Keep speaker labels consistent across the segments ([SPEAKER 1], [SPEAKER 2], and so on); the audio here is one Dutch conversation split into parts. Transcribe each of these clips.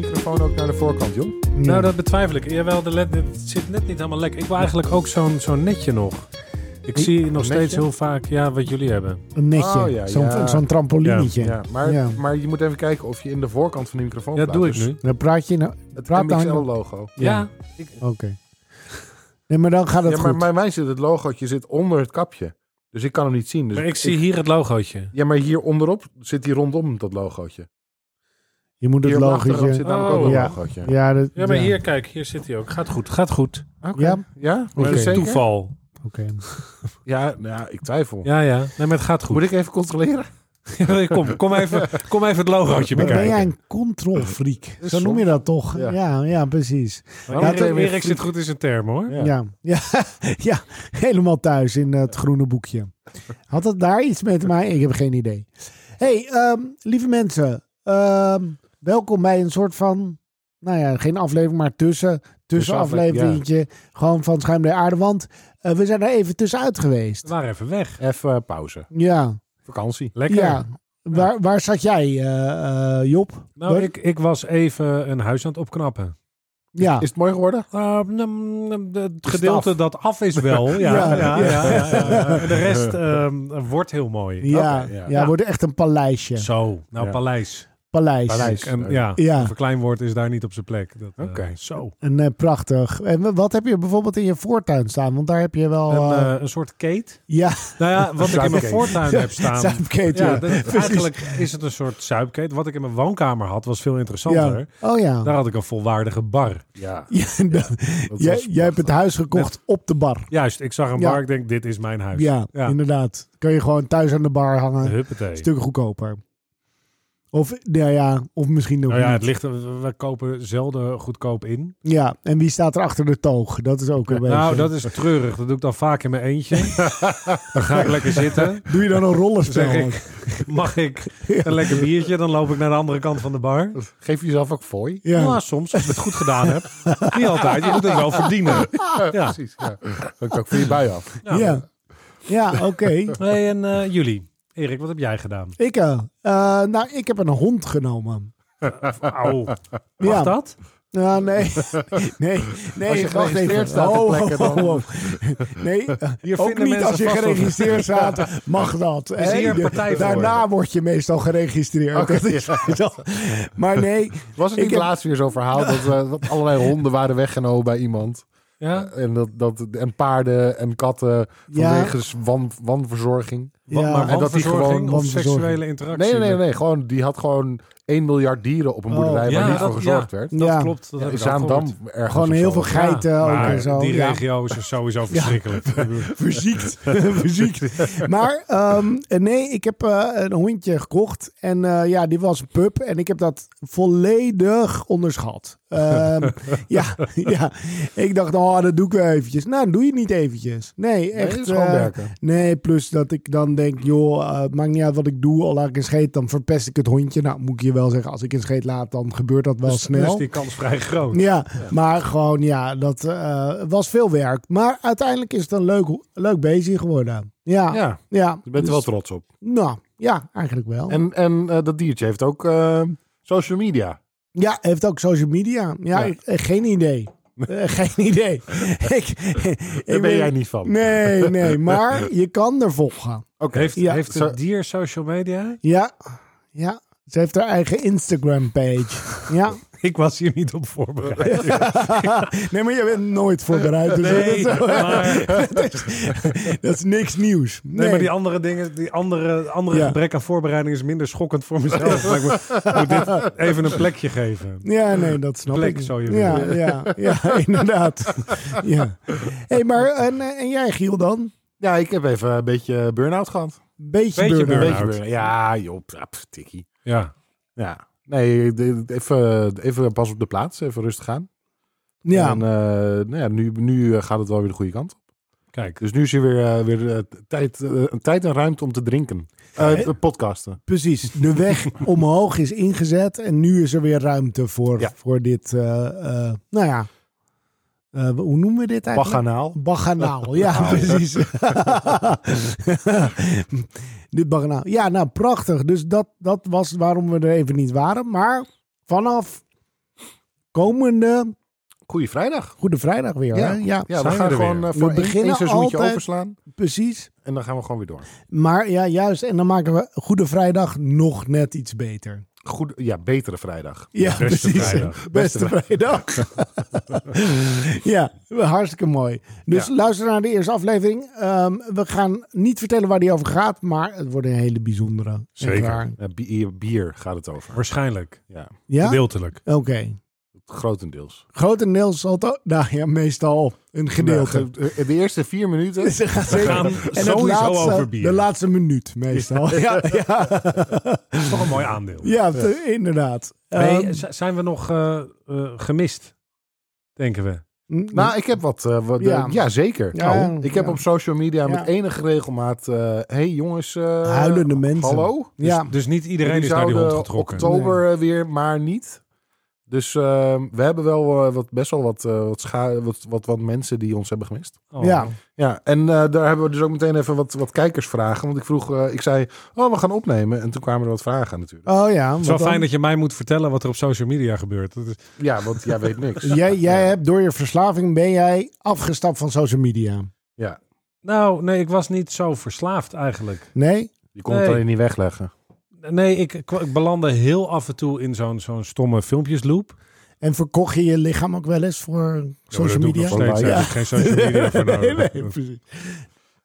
[SPEAKER 1] naar de voorkant, joh.
[SPEAKER 2] Nou, dat betwijfel ik. Jawel, de led het zit net niet helemaal lekker. Ik wil eigenlijk ook zo'n zo'n netje nog. Ik
[SPEAKER 1] Niet-
[SPEAKER 2] zie nog
[SPEAKER 1] netje?
[SPEAKER 2] steeds heel vaak ja, wat jullie hebben.
[SPEAKER 3] Een netje.
[SPEAKER 1] Oh, ja,
[SPEAKER 3] zo'n,
[SPEAKER 1] ja.
[SPEAKER 3] zo'n trampolinetje.
[SPEAKER 2] Ja,
[SPEAKER 1] Ja, maar,
[SPEAKER 3] Ja.
[SPEAKER 1] maar je moet even kijken of je in de voorkant van de microfoon
[SPEAKER 2] Ja,
[SPEAKER 1] plaatst.
[SPEAKER 2] doe ik
[SPEAKER 1] Dus
[SPEAKER 2] nu.
[SPEAKER 3] Dan praat je nou...
[SPEAKER 1] Het
[SPEAKER 3] Praat dan-
[SPEAKER 1] MXL-logo.
[SPEAKER 2] Ja,
[SPEAKER 3] Oké. Nee, maar dan gaat het
[SPEAKER 1] Ja, maar
[SPEAKER 3] goed.
[SPEAKER 1] bij mij zit het logootje zit onder het kapje. Dus ik kan hem niet zien. Dus
[SPEAKER 2] maar ik zie hier het logootje.
[SPEAKER 1] Ja, maar hier onderop zit hij rondom dat logootje.
[SPEAKER 3] je moet het
[SPEAKER 1] hier op de achterkant zit
[SPEAKER 3] logootje...
[SPEAKER 1] namelijk ook
[SPEAKER 2] Oh.
[SPEAKER 1] een
[SPEAKER 3] Ja.
[SPEAKER 1] logootje.
[SPEAKER 3] Ja, dat,
[SPEAKER 2] Ja, maar hier, kijk, hier zit hij ook. Gaat goed, gaat goed.
[SPEAKER 1] Oké.
[SPEAKER 3] Ja.
[SPEAKER 1] Ja?
[SPEAKER 2] Maar
[SPEAKER 1] Weet je
[SPEAKER 2] het is
[SPEAKER 1] zeker?
[SPEAKER 2] toeval.
[SPEAKER 3] Oké.
[SPEAKER 1] Ja, nou, ja, ik twijfel.
[SPEAKER 2] Ja, ja. Nee, maar het gaat goed.
[SPEAKER 1] Moet ik even controleren?
[SPEAKER 2] kom, kom, even, kom even het logootje
[SPEAKER 3] Maar ben
[SPEAKER 2] bekijken.
[SPEAKER 3] jij een controlfreak? Zo noem je
[SPEAKER 1] soms.
[SPEAKER 3] dat toch?
[SPEAKER 1] Ja.
[SPEAKER 3] Ja, ja, precies.
[SPEAKER 2] Maar
[SPEAKER 1] Ja,
[SPEAKER 2] Erik,
[SPEAKER 1] meteen weer
[SPEAKER 2] Erik zit goed in zijn term, hoor.
[SPEAKER 1] Ja.
[SPEAKER 3] Ja. Ja. Ja. helemaal thuis in het groene boekje. Had dat daar iets mee te maken? Ik heb geen idee. hey, ehm, lieve mensen. ehm, welkom bij een soort van... Nou ja, geen aflevering, maar tussen... Tussenafleveringetje. Gewoon van Schuim de Aarde. Want eh, we zijn er even tussenuit
[SPEAKER 2] We
[SPEAKER 3] geweest.
[SPEAKER 2] waren even weg.
[SPEAKER 1] Even eh, pauze.
[SPEAKER 3] Ja.
[SPEAKER 1] Vakantie.
[SPEAKER 2] Lekker.
[SPEAKER 3] Ja. Waar, waar zat jij, eh, eh, Job?
[SPEAKER 2] Nou,
[SPEAKER 3] Leuk.
[SPEAKER 2] ik, ik was even een huis aan het opknappen.
[SPEAKER 3] Ja.
[SPEAKER 1] Is het mooi geworden?
[SPEAKER 2] Eh, nam- nam- de- het gedeelte dat af is wel. Ja,
[SPEAKER 3] Ja.
[SPEAKER 2] ja, ja, ja, ja, ja. En De rest ehm, wordt heel mooi.
[SPEAKER 3] Ja,
[SPEAKER 1] Oké, oh, ja.
[SPEAKER 3] ja. wordt echt een paleisje.
[SPEAKER 2] Zo, nou
[SPEAKER 1] Ja.
[SPEAKER 2] paleis.
[SPEAKER 3] Paleis.
[SPEAKER 1] Paleis.
[SPEAKER 2] En, ja,
[SPEAKER 3] Ja.
[SPEAKER 2] een verkleinwoord is daar niet op zijn plek. Dat, eh,
[SPEAKER 1] Oké.
[SPEAKER 2] Zo.
[SPEAKER 3] En, eh, prachtig. En wa- wat heb je bijvoorbeeld in je voortuin staan? Want daar heb je wel...
[SPEAKER 2] Een,
[SPEAKER 3] eh,
[SPEAKER 2] eh, een soort keet.
[SPEAKER 3] ja,
[SPEAKER 2] Nou ja, wat ik in mijn
[SPEAKER 1] Zuipkeet.
[SPEAKER 2] voortuin heb staan.
[SPEAKER 3] zuipkeet,
[SPEAKER 2] Ja,
[SPEAKER 3] ja.
[SPEAKER 2] dat-
[SPEAKER 3] Precies.
[SPEAKER 2] eigenlijk is het een soort zuipkeet. Wat ik in mijn woonkamer had, was veel interessanter.
[SPEAKER 3] Ja. Oh ja.
[SPEAKER 2] Daar had ik een volwaardige bar.
[SPEAKER 1] Ja.
[SPEAKER 3] Ja, dat-
[SPEAKER 1] dat
[SPEAKER 3] jij,
[SPEAKER 1] was
[SPEAKER 3] jij hebt het huis gekocht op de bar.
[SPEAKER 2] Juist, ik zag een
[SPEAKER 3] Ja.
[SPEAKER 2] bar. Ik denk, dit is mijn huis.
[SPEAKER 3] Ja,
[SPEAKER 2] Ja.
[SPEAKER 3] inderdaad. Kun je gewoon thuis aan de bar hangen.
[SPEAKER 2] Huppatee.
[SPEAKER 3] Stuk goedkoper. Of, ja, ja, of misschien ook
[SPEAKER 2] Nou ja, het
[SPEAKER 3] niet.
[SPEAKER 2] ligt, we we kopen zelden goedkoop in.
[SPEAKER 3] Ja, en wie staat er achter de toog? Dat is ook een beetje...
[SPEAKER 2] Nou, dat is treurig. Dat doe ik dan vaak in mijn eentje. dan ga ik lekker zitten.
[SPEAKER 3] Doe je dan een rollenspel?
[SPEAKER 2] Zeg Mag ik een lekker biertje? Dan loop ik naar de andere kant van de bar.
[SPEAKER 1] Geef jezelf ook fooi.
[SPEAKER 3] Ja.
[SPEAKER 2] Nou, soms, als ik het goed gedaan heb. Niet altijd, je moet het wel verdienen. Ja.
[SPEAKER 1] Precies. Ja. Hangt ook van je bui af.
[SPEAKER 2] Nou.
[SPEAKER 3] Ja, ja oké.
[SPEAKER 2] Hey, en eh, jullie? Erik, wat heb jij gedaan?
[SPEAKER 3] Ik, eh, eh, nou, ik heb een hond genomen.
[SPEAKER 2] Auw, mag
[SPEAKER 3] ja.
[SPEAKER 2] dat?
[SPEAKER 3] Ja, nee. nee, nee.
[SPEAKER 1] Als je
[SPEAKER 3] wacht
[SPEAKER 1] geregistreerd
[SPEAKER 3] even.
[SPEAKER 1] staat ter
[SPEAKER 3] Ho,
[SPEAKER 1] plekke,
[SPEAKER 3] ho,
[SPEAKER 1] dan-
[SPEAKER 3] ho. Nee, eh,
[SPEAKER 2] Hier
[SPEAKER 3] ook
[SPEAKER 2] vinden
[SPEAKER 3] niet
[SPEAKER 2] mensen
[SPEAKER 3] als je
[SPEAKER 2] vast wat-
[SPEAKER 3] geregistreerd staat, mag dat.
[SPEAKER 2] Is
[SPEAKER 3] hè?
[SPEAKER 2] hier een
[SPEAKER 3] De-
[SPEAKER 2] partij voor?
[SPEAKER 3] Daarna word je meestal geregistreerd.
[SPEAKER 1] Oké,
[SPEAKER 3] Dat is dat. Maar nee,
[SPEAKER 1] Was het niet
[SPEAKER 3] Ik heb-
[SPEAKER 1] laatst weer zo'n verhaal dat, eh, dat allerlei honden waren weggenomen bij iemand?
[SPEAKER 2] Ja?
[SPEAKER 1] En, dat, dat, en paarden en katten vanwege wan, wanverzorging.
[SPEAKER 2] Wat,
[SPEAKER 3] Ja.
[SPEAKER 1] En
[SPEAKER 2] maar
[SPEAKER 1] dat die
[SPEAKER 2] wanverzorging
[SPEAKER 1] gewoon-
[SPEAKER 2] of
[SPEAKER 3] wanverzorging.
[SPEAKER 2] seksuele interactie?
[SPEAKER 1] Nee, nee, nee,
[SPEAKER 2] met-
[SPEAKER 1] nee. Gewoon, die had gewoon 1 miljard dieren op een
[SPEAKER 3] Oh.
[SPEAKER 1] boerderij waar
[SPEAKER 2] Ja,
[SPEAKER 1] niet
[SPEAKER 2] dat-
[SPEAKER 1] voor gezorgd werd.
[SPEAKER 2] Dat
[SPEAKER 3] ja,
[SPEAKER 2] klopt, dat
[SPEAKER 1] Ja,
[SPEAKER 2] heb
[SPEAKER 1] in
[SPEAKER 2] ik al gehoord.
[SPEAKER 1] Zaandam ergens.
[SPEAKER 3] gewoon
[SPEAKER 1] of
[SPEAKER 3] heel
[SPEAKER 1] zo.
[SPEAKER 3] veel geiten
[SPEAKER 2] Ja,
[SPEAKER 3] ook
[SPEAKER 2] maar
[SPEAKER 3] en zo.
[SPEAKER 2] Die
[SPEAKER 3] ja.
[SPEAKER 2] regio is sowieso verschrikkelijk. Dus
[SPEAKER 3] Verziekt. Verziekt. Maar ehm, nee, ik heb eh, een hondje gekocht. En eh, ja, die was een pup. En ik heb dat volledig onderschat. Ehm, ja, ja, ik dacht, oh, dat doe ik wel eventjes. Nou, dat doe je niet eventjes. Nee,
[SPEAKER 1] Nee,
[SPEAKER 3] echt.
[SPEAKER 1] dat is
[SPEAKER 3] eh,
[SPEAKER 1] gewoon werken.
[SPEAKER 3] nee, plus dat ik dan denk, joh, eh, het maakt niet uit wat ik doe. Al laat ik een scheet, dan verpest ik het hondje. Nou, moet ik je wel zeggen, als ik een scheet laat, dan gebeurt dat wel snel.
[SPEAKER 2] Dus die kans vrij groot.
[SPEAKER 3] Ja, maar gewoon, ja, dat eh, was veel werk. Maar uiteindelijk is het een leuk, leuk bezig geworden. Ja, ja.
[SPEAKER 2] Ja,
[SPEAKER 1] Je bent er wel
[SPEAKER 3] Dus-
[SPEAKER 1] trots op.
[SPEAKER 3] Nou, ja, eigenlijk wel.
[SPEAKER 1] En, en eh, dat diertje heeft ook eh, social media.
[SPEAKER 3] Ja, heeft ook social media. Ja,
[SPEAKER 1] Ja.
[SPEAKER 3] ik- eh, geen idee. Eh, geen idee. ik,
[SPEAKER 1] Daar
[SPEAKER 3] ik
[SPEAKER 1] ben
[SPEAKER 3] weet-
[SPEAKER 1] jij niet van.
[SPEAKER 3] Nee, nee, maar je kan er volgen.
[SPEAKER 1] Oké.
[SPEAKER 2] heeft,
[SPEAKER 3] Ja.
[SPEAKER 2] heeft
[SPEAKER 1] Zo-
[SPEAKER 2] een dier social media?
[SPEAKER 3] Ja, ja. Ze heeft haar eigen Instagram-page. Ja.
[SPEAKER 2] Ik was hier niet op voorbereid.
[SPEAKER 3] nee, maar je bent nooit voorbereid. Dus
[SPEAKER 2] Nee,
[SPEAKER 3] dat, is,
[SPEAKER 2] maar,
[SPEAKER 3] dat is niks nieuws.
[SPEAKER 2] nee, maar die andere dingen, die andere, andere
[SPEAKER 3] Ja.
[SPEAKER 2] gebrek aan voorbereiding is minder schokkend voor mezelf. Maar ik moet, moet dit even een plekje geven.
[SPEAKER 3] Ja, nee, dat snap
[SPEAKER 2] Plek
[SPEAKER 3] ik.
[SPEAKER 2] zou je
[SPEAKER 3] ja,
[SPEAKER 2] willen.
[SPEAKER 3] ja, ja, inderdaad. ja. hey, maar en, eh, en jij Giel dan?
[SPEAKER 1] Ja, ik heb even een beetje burn-out gehad.
[SPEAKER 3] Beetje,
[SPEAKER 2] Beetje
[SPEAKER 3] burn-out.
[SPEAKER 1] Een beetje
[SPEAKER 2] Burn-out.
[SPEAKER 1] burn Ja, joh, ja, pff, tikkie.
[SPEAKER 2] Ja.
[SPEAKER 1] Ja. Nee, de- even, even pas op de plaats. Even rustig aan.
[SPEAKER 3] Ja,
[SPEAKER 1] En, eh, nou ja, nu, nu eh, gaat het wel weer de goede kant op.
[SPEAKER 2] Kijk,
[SPEAKER 1] Dus nu is er weer, eh, weer eh, tijd, eh, tijd en ruimte om te drinken. Eh,
[SPEAKER 3] Eh?
[SPEAKER 1] podcasten.
[SPEAKER 3] precies. De weg omhoog is ingezet en nu is er weer ruimte voor,
[SPEAKER 1] Ja.
[SPEAKER 3] voor dit, eh, eh, nou ja, Eh, hoe noemen we dit eigenlijk?
[SPEAKER 1] Paganaal.
[SPEAKER 3] Baganaal, ja, precies. Dit baganaal. Ja, nou, prachtig. Dus dat, dat was waarom we er even niet waren. Maar vanaf komende
[SPEAKER 1] Goeie vrijdag.
[SPEAKER 3] Goede Vrijdag weer.
[SPEAKER 1] Ja.
[SPEAKER 3] Hè? ja.
[SPEAKER 1] Ja,
[SPEAKER 2] Zijn
[SPEAKER 1] we gaan
[SPEAKER 2] we er
[SPEAKER 1] gewoon
[SPEAKER 2] weer.
[SPEAKER 1] eh, voor
[SPEAKER 3] We
[SPEAKER 1] één-
[SPEAKER 3] beginnen
[SPEAKER 1] één seizoentje
[SPEAKER 3] altijd-
[SPEAKER 1] overslaan.
[SPEAKER 3] precies.
[SPEAKER 1] En dan gaan we gewoon weer door.
[SPEAKER 3] Maar ja, juist. En dan maken we Goede Vrijdag nog net iets beter.
[SPEAKER 1] Goed, ja, betere vrijdag.
[SPEAKER 3] Ja,
[SPEAKER 2] beste
[SPEAKER 3] precies.
[SPEAKER 2] vrijdag.
[SPEAKER 3] Beste vrijdag. ja, hartstikke mooi. Dus
[SPEAKER 1] Ja.
[SPEAKER 3] luister naar de eerste aflevering. Ehm, we gaan niet vertellen waar die over gaat, maar het wordt een hele bijzondere. Echt
[SPEAKER 2] Zeker.
[SPEAKER 3] waar.
[SPEAKER 1] Eh, bier, bier gaat het over.
[SPEAKER 2] Waarschijnlijk.
[SPEAKER 1] Ja,
[SPEAKER 3] Ja? Oké.
[SPEAKER 2] Gedeeltelijk.
[SPEAKER 1] grotendeels.
[SPEAKER 3] Grotendeels zal het ook- nou ja, meestal een gedeelte.
[SPEAKER 1] Nou, ge- eh, De eerste vier minuten.
[SPEAKER 3] Ze gaan
[SPEAKER 2] We
[SPEAKER 3] zeker-
[SPEAKER 2] gaan
[SPEAKER 3] en het
[SPEAKER 2] sowieso
[SPEAKER 3] laatste,
[SPEAKER 2] over bier.
[SPEAKER 3] de laatste minuut meestal. Ja, ja,
[SPEAKER 2] Dat is toch een mooi aandeel.
[SPEAKER 3] ja, te- inderdaad.
[SPEAKER 2] Nee,
[SPEAKER 3] Ehm,
[SPEAKER 2] z- zijn we nog eh, eh, gemist? Denken we.
[SPEAKER 3] n-
[SPEAKER 1] Nou, ik heb wat. eh, wat
[SPEAKER 3] Ja.
[SPEAKER 1] ja. ja, zeker.
[SPEAKER 3] Ja,
[SPEAKER 1] Oh, ik heb
[SPEAKER 3] ja.
[SPEAKER 1] op social media
[SPEAKER 3] Ja.
[SPEAKER 1] met enige regelmaat. eh hey jongens. eh,
[SPEAKER 3] Huilende mensen.
[SPEAKER 1] Hallo?
[SPEAKER 2] Dus,
[SPEAKER 3] ja,
[SPEAKER 2] dus niet iedereen
[SPEAKER 1] Jullie
[SPEAKER 2] is naar die hond
[SPEAKER 1] zouden
[SPEAKER 2] getrokken.
[SPEAKER 1] oktober eh, weer, maar niet. Dus eh, we hebben wel eh, wat, best wel wat, eh, wat, scha- wat, wat, wat mensen die ons hebben gemist.
[SPEAKER 2] Oh.
[SPEAKER 3] ja.
[SPEAKER 1] Ja, en eh, daar hebben we dus ook meteen even wat, wat kijkersvragen. Want ik vroeg, eh, ik zei, oh, we gaan opnemen. En toen kwamen er wat vragen natuurlijk.
[SPEAKER 3] Oh ja.
[SPEAKER 2] Het
[SPEAKER 3] wat
[SPEAKER 2] is wel
[SPEAKER 3] dan?
[SPEAKER 2] fijn dat je mij moet vertellen wat er op social media gebeurt. Dat is-
[SPEAKER 1] Ja, want jij weet niks.
[SPEAKER 3] Jij, jij hebt door je verslaving ben jij afgestapt van social media.
[SPEAKER 1] Ja,
[SPEAKER 2] Nou, nee, ik was niet zo verslaafd eigenlijk.
[SPEAKER 3] Nee?
[SPEAKER 1] je kon het
[SPEAKER 2] Nee.
[SPEAKER 1] alleen niet wegleggen.
[SPEAKER 2] Nee, ik, kwa- ik belandde heel af en toe in zo'n zo'n stomme filmpjesloop.
[SPEAKER 3] En verkocht je je lichaam ook wel eens voor social media?
[SPEAKER 1] nog steeds,
[SPEAKER 2] ja.
[SPEAKER 1] hè.
[SPEAKER 2] Daar heb ik geen social media voor
[SPEAKER 3] nee,
[SPEAKER 2] nodig. Ah,
[SPEAKER 3] nee, precies.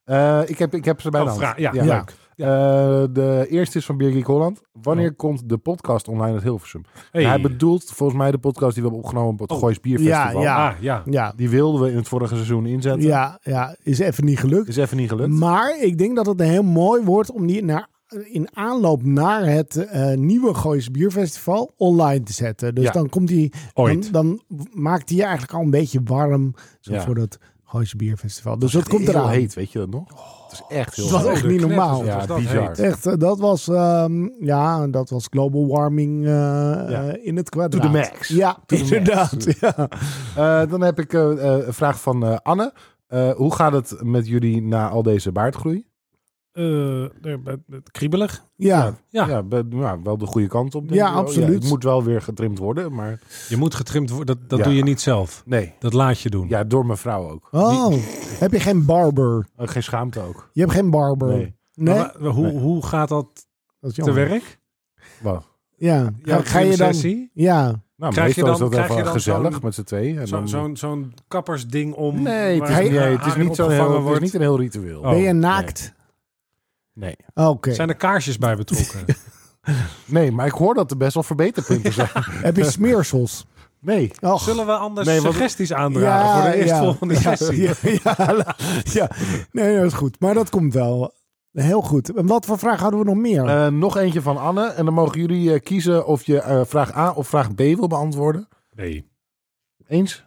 [SPEAKER 1] Eh, ik, heb, ik heb ze bij
[SPEAKER 2] Oh,
[SPEAKER 1] de hand.
[SPEAKER 2] vraag-
[SPEAKER 3] ja.
[SPEAKER 2] ja,
[SPEAKER 3] Oh.
[SPEAKER 2] leuk.
[SPEAKER 1] Eh, de eerste is van Birgit Holland. Wanneer komt de podcast online uit Hilversum?
[SPEAKER 2] Hey.
[SPEAKER 1] Hij bedoelt volgens mij de podcast die we hebben opgenomen op het
[SPEAKER 2] Oh.
[SPEAKER 1] Goois Bierfestival.
[SPEAKER 3] Ja, ja.
[SPEAKER 2] Ah, ja.
[SPEAKER 3] Ja,
[SPEAKER 1] Die wilden we in het vorige seizoen inzetten.
[SPEAKER 3] ja, ja, is even niet gelukt.
[SPEAKER 1] eh, Is even niet gelukt.
[SPEAKER 3] Maar ik denk dat het een heel mooi wordt om die naar, in aanloop naar het eh, nieuwe Goois Bierfestival online te zetten. Dus
[SPEAKER 1] Ja.
[SPEAKER 3] dan komt die, dan,
[SPEAKER 2] Ooit.
[SPEAKER 3] dan maakt die je eigenlijk al een beetje warm zo
[SPEAKER 1] Ja.
[SPEAKER 3] voor dat Goois Bierfestival. Dus dat komt
[SPEAKER 1] heel
[SPEAKER 3] eraan. Oh.
[SPEAKER 1] heet, weet je dat nog? het is echt heel
[SPEAKER 3] Dat was
[SPEAKER 2] Oh,
[SPEAKER 1] heet.
[SPEAKER 3] echt niet normaal.
[SPEAKER 1] Ja,
[SPEAKER 2] Ja,
[SPEAKER 1] bizar.
[SPEAKER 2] bizar.
[SPEAKER 3] Echt, eh, dat was, ehm, ja, dat was global warming eh, eh, in het kwadraat.
[SPEAKER 1] To the max.
[SPEAKER 3] Ja,
[SPEAKER 1] the max.
[SPEAKER 3] inderdaad. Ja.
[SPEAKER 1] Eh, dan heb ik eh, eh, een vraag van eh, Anne. Eh, hoe gaat het met jullie na al deze baardgroei?
[SPEAKER 2] Eh, eh, kriebelig.
[SPEAKER 3] Ja.
[SPEAKER 2] Ja.
[SPEAKER 1] be- nou, wel de goede kant op. denk
[SPEAKER 3] Ja,
[SPEAKER 1] ik wel.
[SPEAKER 3] absoluut.
[SPEAKER 1] het moet wel weer getrimd worden, maar
[SPEAKER 2] Je moet getrimd worden. Dat, dat
[SPEAKER 1] Ja.
[SPEAKER 2] doe je niet zelf.
[SPEAKER 1] nee.
[SPEAKER 2] Dat laat je doen.
[SPEAKER 1] Ja, door mijn vrouw ook.
[SPEAKER 3] Oh, heb je geen barber?
[SPEAKER 1] Eh, geen schaamte ook.
[SPEAKER 3] Je hebt geen barber.
[SPEAKER 1] Nee.
[SPEAKER 3] Nee?
[SPEAKER 2] Maar wa- hoe,
[SPEAKER 1] Nee.
[SPEAKER 2] hoe gaat dat
[SPEAKER 3] dat is
[SPEAKER 2] te
[SPEAKER 3] jammer.
[SPEAKER 2] werk?
[SPEAKER 1] Wow.
[SPEAKER 3] Ja. Ga,
[SPEAKER 2] Jouw
[SPEAKER 3] ga je dan...
[SPEAKER 2] trimsessie?
[SPEAKER 3] Ja.
[SPEAKER 1] Nou,
[SPEAKER 2] Krijg je
[SPEAKER 1] meestal is dat
[SPEAKER 2] dan- krijg je
[SPEAKER 1] even
[SPEAKER 2] dan
[SPEAKER 1] gezellig
[SPEAKER 2] zo'n-
[SPEAKER 1] met z'n tweeën. en
[SPEAKER 2] Zo'n
[SPEAKER 1] dan-
[SPEAKER 2] zo'n zo'n kappersding om...
[SPEAKER 1] nee, het
[SPEAKER 2] waar
[SPEAKER 1] is, niet,
[SPEAKER 2] je
[SPEAKER 1] nee, het is
[SPEAKER 2] haar in
[SPEAKER 1] niet zo'n
[SPEAKER 2] opgevangen
[SPEAKER 1] heel, het is
[SPEAKER 2] wordt.
[SPEAKER 1] niet een heel ritueel.
[SPEAKER 2] Oh.
[SPEAKER 3] ben je naakt?
[SPEAKER 1] Nee.
[SPEAKER 3] Oh, Oké.
[SPEAKER 2] Zijn er kaarsjes bij betrokken?
[SPEAKER 1] nee, maar ik hoor dat er best wel verbeterpunten zijn.
[SPEAKER 3] Heb je smeersels?
[SPEAKER 1] Nee.
[SPEAKER 3] Och.
[SPEAKER 2] Zullen we anders
[SPEAKER 1] Nee, want-
[SPEAKER 2] suggesties aandragen voor de eerstvolgende
[SPEAKER 3] ja,
[SPEAKER 2] sessie?
[SPEAKER 3] Ja, ja, la- ja. Nee, dat is goed. Maar dat komt wel. Heel goed. En wat voor vraag hadden we nog meer?
[SPEAKER 1] Eh, nog eentje van Anne. En dan mogen jullie eh, kiezen of je eh, vraag A of vraag B wil beantwoorden.
[SPEAKER 2] Nee.
[SPEAKER 1] Eens?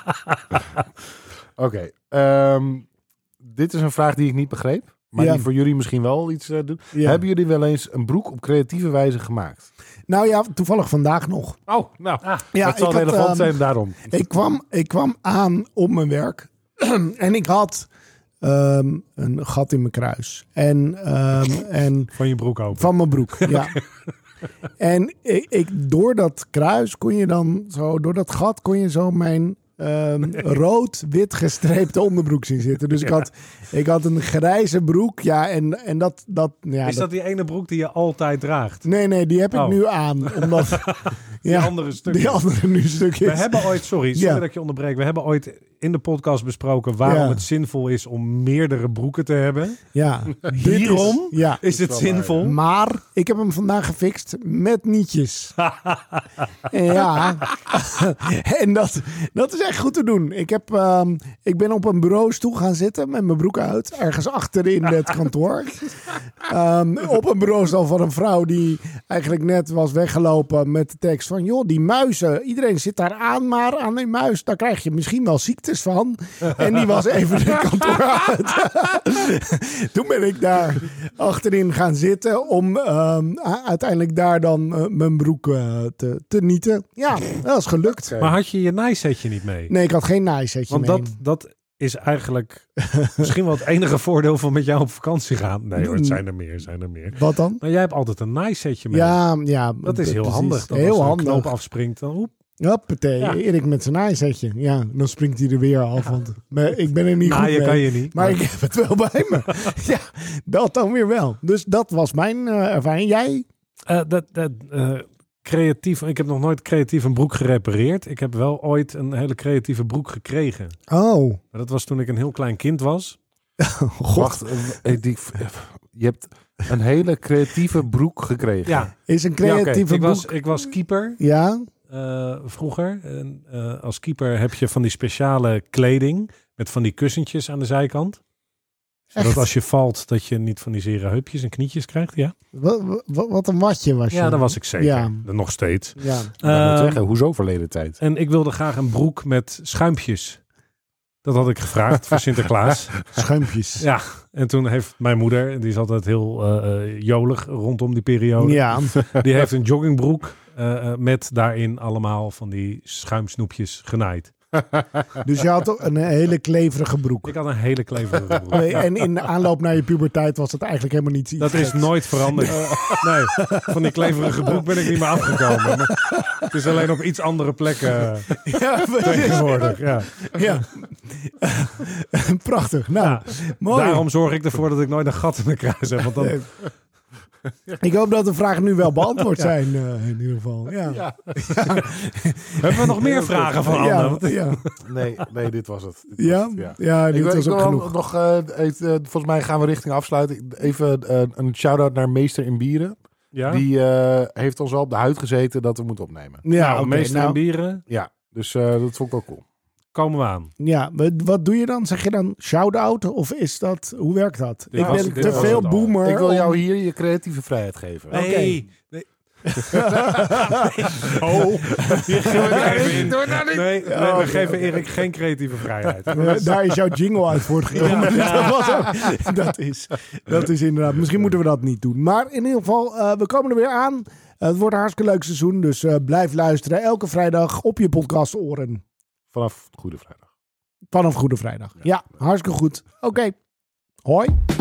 [SPEAKER 1] Oké. ehm, dit is een vraag die ik niet begreep. Maar
[SPEAKER 3] Ja.
[SPEAKER 1] die voor jullie misschien wel iets eh, doet.
[SPEAKER 3] Ja.
[SPEAKER 1] Hebben jullie wel eens een broek op creatieve wijze gemaakt?
[SPEAKER 3] Nou ja, toevallig vandaag nog.
[SPEAKER 1] Oh, nou.
[SPEAKER 2] Ah.
[SPEAKER 3] Ja,
[SPEAKER 1] dat zal
[SPEAKER 3] ik had,
[SPEAKER 1] relevant
[SPEAKER 3] ehm,
[SPEAKER 1] zijn daarom.
[SPEAKER 3] Ik kwam, ik kwam aan op mijn werk en ik had ehm, een gat in mijn kruis. En, ehm, en
[SPEAKER 2] Van je broek open.
[SPEAKER 3] van mijn broek, ja. En ik, ik, door dat kruis kon je dan zo, door dat gat kon je zo mijn ehm, rood-wit gestreepte onderbroek zien zitten. Dus ik, had, ik had een grijze broek, ja. En, en dat, dat, ja,
[SPEAKER 2] is dat die ene broek die je altijd draagt?
[SPEAKER 3] Nee, nee, die heb ik
[SPEAKER 2] Oh.
[SPEAKER 3] nu aan. Omdat,
[SPEAKER 2] Die
[SPEAKER 3] ja,
[SPEAKER 2] andere stuk.
[SPEAKER 3] die andere nu stuk
[SPEAKER 2] We
[SPEAKER 3] is.
[SPEAKER 2] hebben ooit, sorry, sorry
[SPEAKER 3] Ja.
[SPEAKER 2] dat ik je onderbreek. We hebben ooit in de podcast besproken waarom
[SPEAKER 3] Ja.
[SPEAKER 2] het zinvol is om meerdere broeken te hebben.
[SPEAKER 3] Ja. Dit is-
[SPEAKER 2] Hierom?
[SPEAKER 3] Ja.
[SPEAKER 2] Is het zinvol?
[SPEAKER 3] Maar ik heb hem vandaag gefixt met nietjes. ja. en dat, dat is echt goed te doen. Ik, heb, ehm, ik ben op een bureaustoel gaan zitten met mijn broek uit. Ergens achterin het kantoor. Ehm, op een bureaustoel van een vrouw die eigenlijk net was weggelopen met de tekst van... joh, die muizen, iedereen zit daar aan, maar aan die muis... daar krijg je misschien wel ziektes van. En die was even het kantoor uit. Toen ben ik daar achterin gaan zitten om ehm, a- uiteindelijk daar dan eh, mijn broek eh, te, te nieten. Ja, dat is gelukt.
[SPEAKER 2] Maar had je je naaisetje niet mee?
[SPEAKER 3] Nee, ik had geen naaisetje
[SPEAKER 2] Want
[SPEAKER 3] mee.
[SPEAKER 2] dat, dat is eigenlijk misschien wel het enige voordeel van met jou op vakantie gaan. Nee hoor, het
[SPEAKER 3] Mm.
[SPEAKER 2] zijn er meer, zijn er meer.
[SPEAKER 3] Wat dan?
[SPEAKER 2] Maar jij hebt altijd een nice setje mee.
[SPEAKER 3] Ja, ja.
[SPEAKER 2] dat is Eh, heel
[SPEAKER 3] precies.
[SPEAKER 2] handig. Dat als
[SPEAKER 3] heel
[SPEAKER 2] er een
[SPEAKER 3] handig.
[SPEAKER 2] knoop afspringt, dan oep,
[SPEAKER 3] Hoppatee,
[SPEAKER 2] Ja.
[SPEAKER 3] Erik met zijn naaizetje. Ja, dan springt hij er weer af. Want maar ik ben er niet goed
[SPEAKER 2] naaien
[SPEAKER 3] mee.
[SPEAKER 2] kan Nou, je niet.
[SPEAKER 3] Maar ik heb het wel bij me. ja, dat dan weer wel. Dus dat was mijn eh, ervaring. Jij?
[SPEAKER 2] Eh, dat, dat, eh, creatief, ik heb nog nooit creatief een broek gerepareerd. Ik heb wel ooit een hele creatieve broek gekregen.
[SPEAKER 3] Oh,
[SPEAKER 2] Maar dat was toen ik een heel klein kind was.
[SPEAKER 3] god.
[SPEAKER 1] Wacht, eh, die, je hebt een hele creatieve broek gekregen.
[SPEAKER 2] Ja,
[SPEAKER 3] Is een
[SPEAKER 2] ja, oké.
[SPEAKER 3] creatieve
[SPEAKER 2] ik,
[SPEAKER 3] broek.
[SPEAKER 2] was, ik was keeper
[SPEAKER 3] Ja,
[SPEAKER 2] eh, vroeger. En, eh, als keeper heb je van die speciale kleding met van die kussentjes aan de zijkant.
[SPEAKER 3] echt.
[SPEAKER 2] Zodat als je valt, dat je niet van die zere heupjes en knietjes krijgt. Ja,
[SPEAKER 3] Wa- wa- wa- wat een watje was je.
[SPEAKER 2] ja dat was ik zeker.
[SPEAKER 3] Ja.
[SPEAKER 2] Nog steeds.
[SPEAKER 3] Ja.
[SPEAKER 1] Ik wou net
[SPEAKER 2] Ehm,
[SPEAKER 1] zeggen, hoezo verleden tijd?
[SPEAKER 2] En ik wilde graag een broek met schuimpjes. Dat had ik gevraagd voor Sinterklaas.
[SPEAKER 3] Schuimpjes.
[SPEAKER 2] Ja, en toen heeft mijn moeder, die is altijd heel eh, eh, jolig rondom die periode.
[SPEAKER 3] Ja.
[SPEAKER 2] Die heeft een joggingbroek eh, eh, met daarin allemaal van die schuimsnoepjes genaaid.
[SPEAKER 3] dus je had een hele kleverige broek.
[SPEAKER 2] Ik had een hele kleverige broek.
[SPEAKER 3] Nee, En in de aanloop naar je puberteit was het eigenlijk helemaal niet iets.
[SPEAKER 2] Dat is
[SPEAKER 3] geks.
[SPEAKER 2] nooit veranderd. Nee, van die kleverige broek ben ik niet meer afgekomen. Maar het is alleen op iets andere plekken eh,
[SPEAKER 3] Ja,
[SPEAKER 2] tegenwoordig. Ja.
[SPEAKER 3] Ja. Prachtig. Nou,
[SPEAKER 2] Ja,
[SPEAKER 3] mooi.
[SPEAKER 2] Daarom zorg ik ervoor dat ik nooit een gat in de kruis heb. Want dan,
[SPEAKER 3] Eh, Ik hoop dat de vragen nu wel beantwoord zijn, eh, in ieder geval. Ja, ja.
[SPEAKER 2] hebben we nog meer vragen van Anne?
[SPEAKER 3] ja,
[SPEAKER 2] Want-
[SPEAKER 3] ja.
[SPEAKER 1] Nee, nee, dit was het. Dit was
[SPEAKER 3] ja.
[SPEAKER 1] het, ja.
[SPEAKER 3] dit
[SPEAKER 1] ik,
[SPEAKER 3] was
[SPEAKER 1] ik
[SPEAKER 3] ook
[SPEAKER 1] wil
[SPEAKER 3] genoeg.
[SPEAKER 1] nog, eh, even, eh, volgens mij gaan we richting afsluiten. Even eh, een shout-out naar Meester in Bieren.
[SPEAKER 2] Ja?
[SPEAKER 1] Die eh, heeft ons wel op de huid gezeten dat we moeten opnemen.
[SPEAKER 3] Ja,
[SPEAKER 2] nou,
[SPEAKER 3] oké,
[SPEAKER 2] meester
[SPEAKER 3] nou,
[SPEAKER 2] en bieren,
[SPEAKER 1] Ja, dus eh, dat vond ik wel cool.
[SPEAKER 2] komen we aan.
[SPEAKER 3] ja, wat- wat doe je dan? Zeg je dan shout-out? Of is dat, hoe werkt dat?
[SPEAKER 2] Dit
[SPEAKER 3] ik
[SPEAKER 2] was-
[SPEAKER 3] ben
[SPEAKER 2] dit
[SPEAKER 3] te
[SPEAKER 2] was
[SPEAKER 3] veel
[SPEAKER 2] het al.
[SPEAKER 3] boomer.
[SPEAKER 1] ik wil
[SPEAKER 3] om-
[SPEAKER 1] jou hier je creatieve vrijheid geven.
[SPEAKER 3] Oké.
[SPEAKER 2] nee. oh, hier gaan we er even in. Nee, oh, nee, we geven Erik geen creatieve vrijheid.
[SPEAKER 3] Eh, daar is jouw jingle uit voortgekomen.
[SPEAKER 2] Ja.
[SPEAKER 3] dat, was ook- dat, is, dat is inderdaad. Misschien moeten we dat niet doen. Maar in ieder geval, eh, we komen er weer aan. Eh, het wordt een hartstikke leuk seizoen. Dus eh, blijf luisteren. Elke vrijdag op je podcast oren.
[SPEAKER 1] Vanaf Goede Vrijdag.
[SPEAKER 3] Vanaf Goede Vrijdag. Ja, hartstikke goed. Oké. Hoi.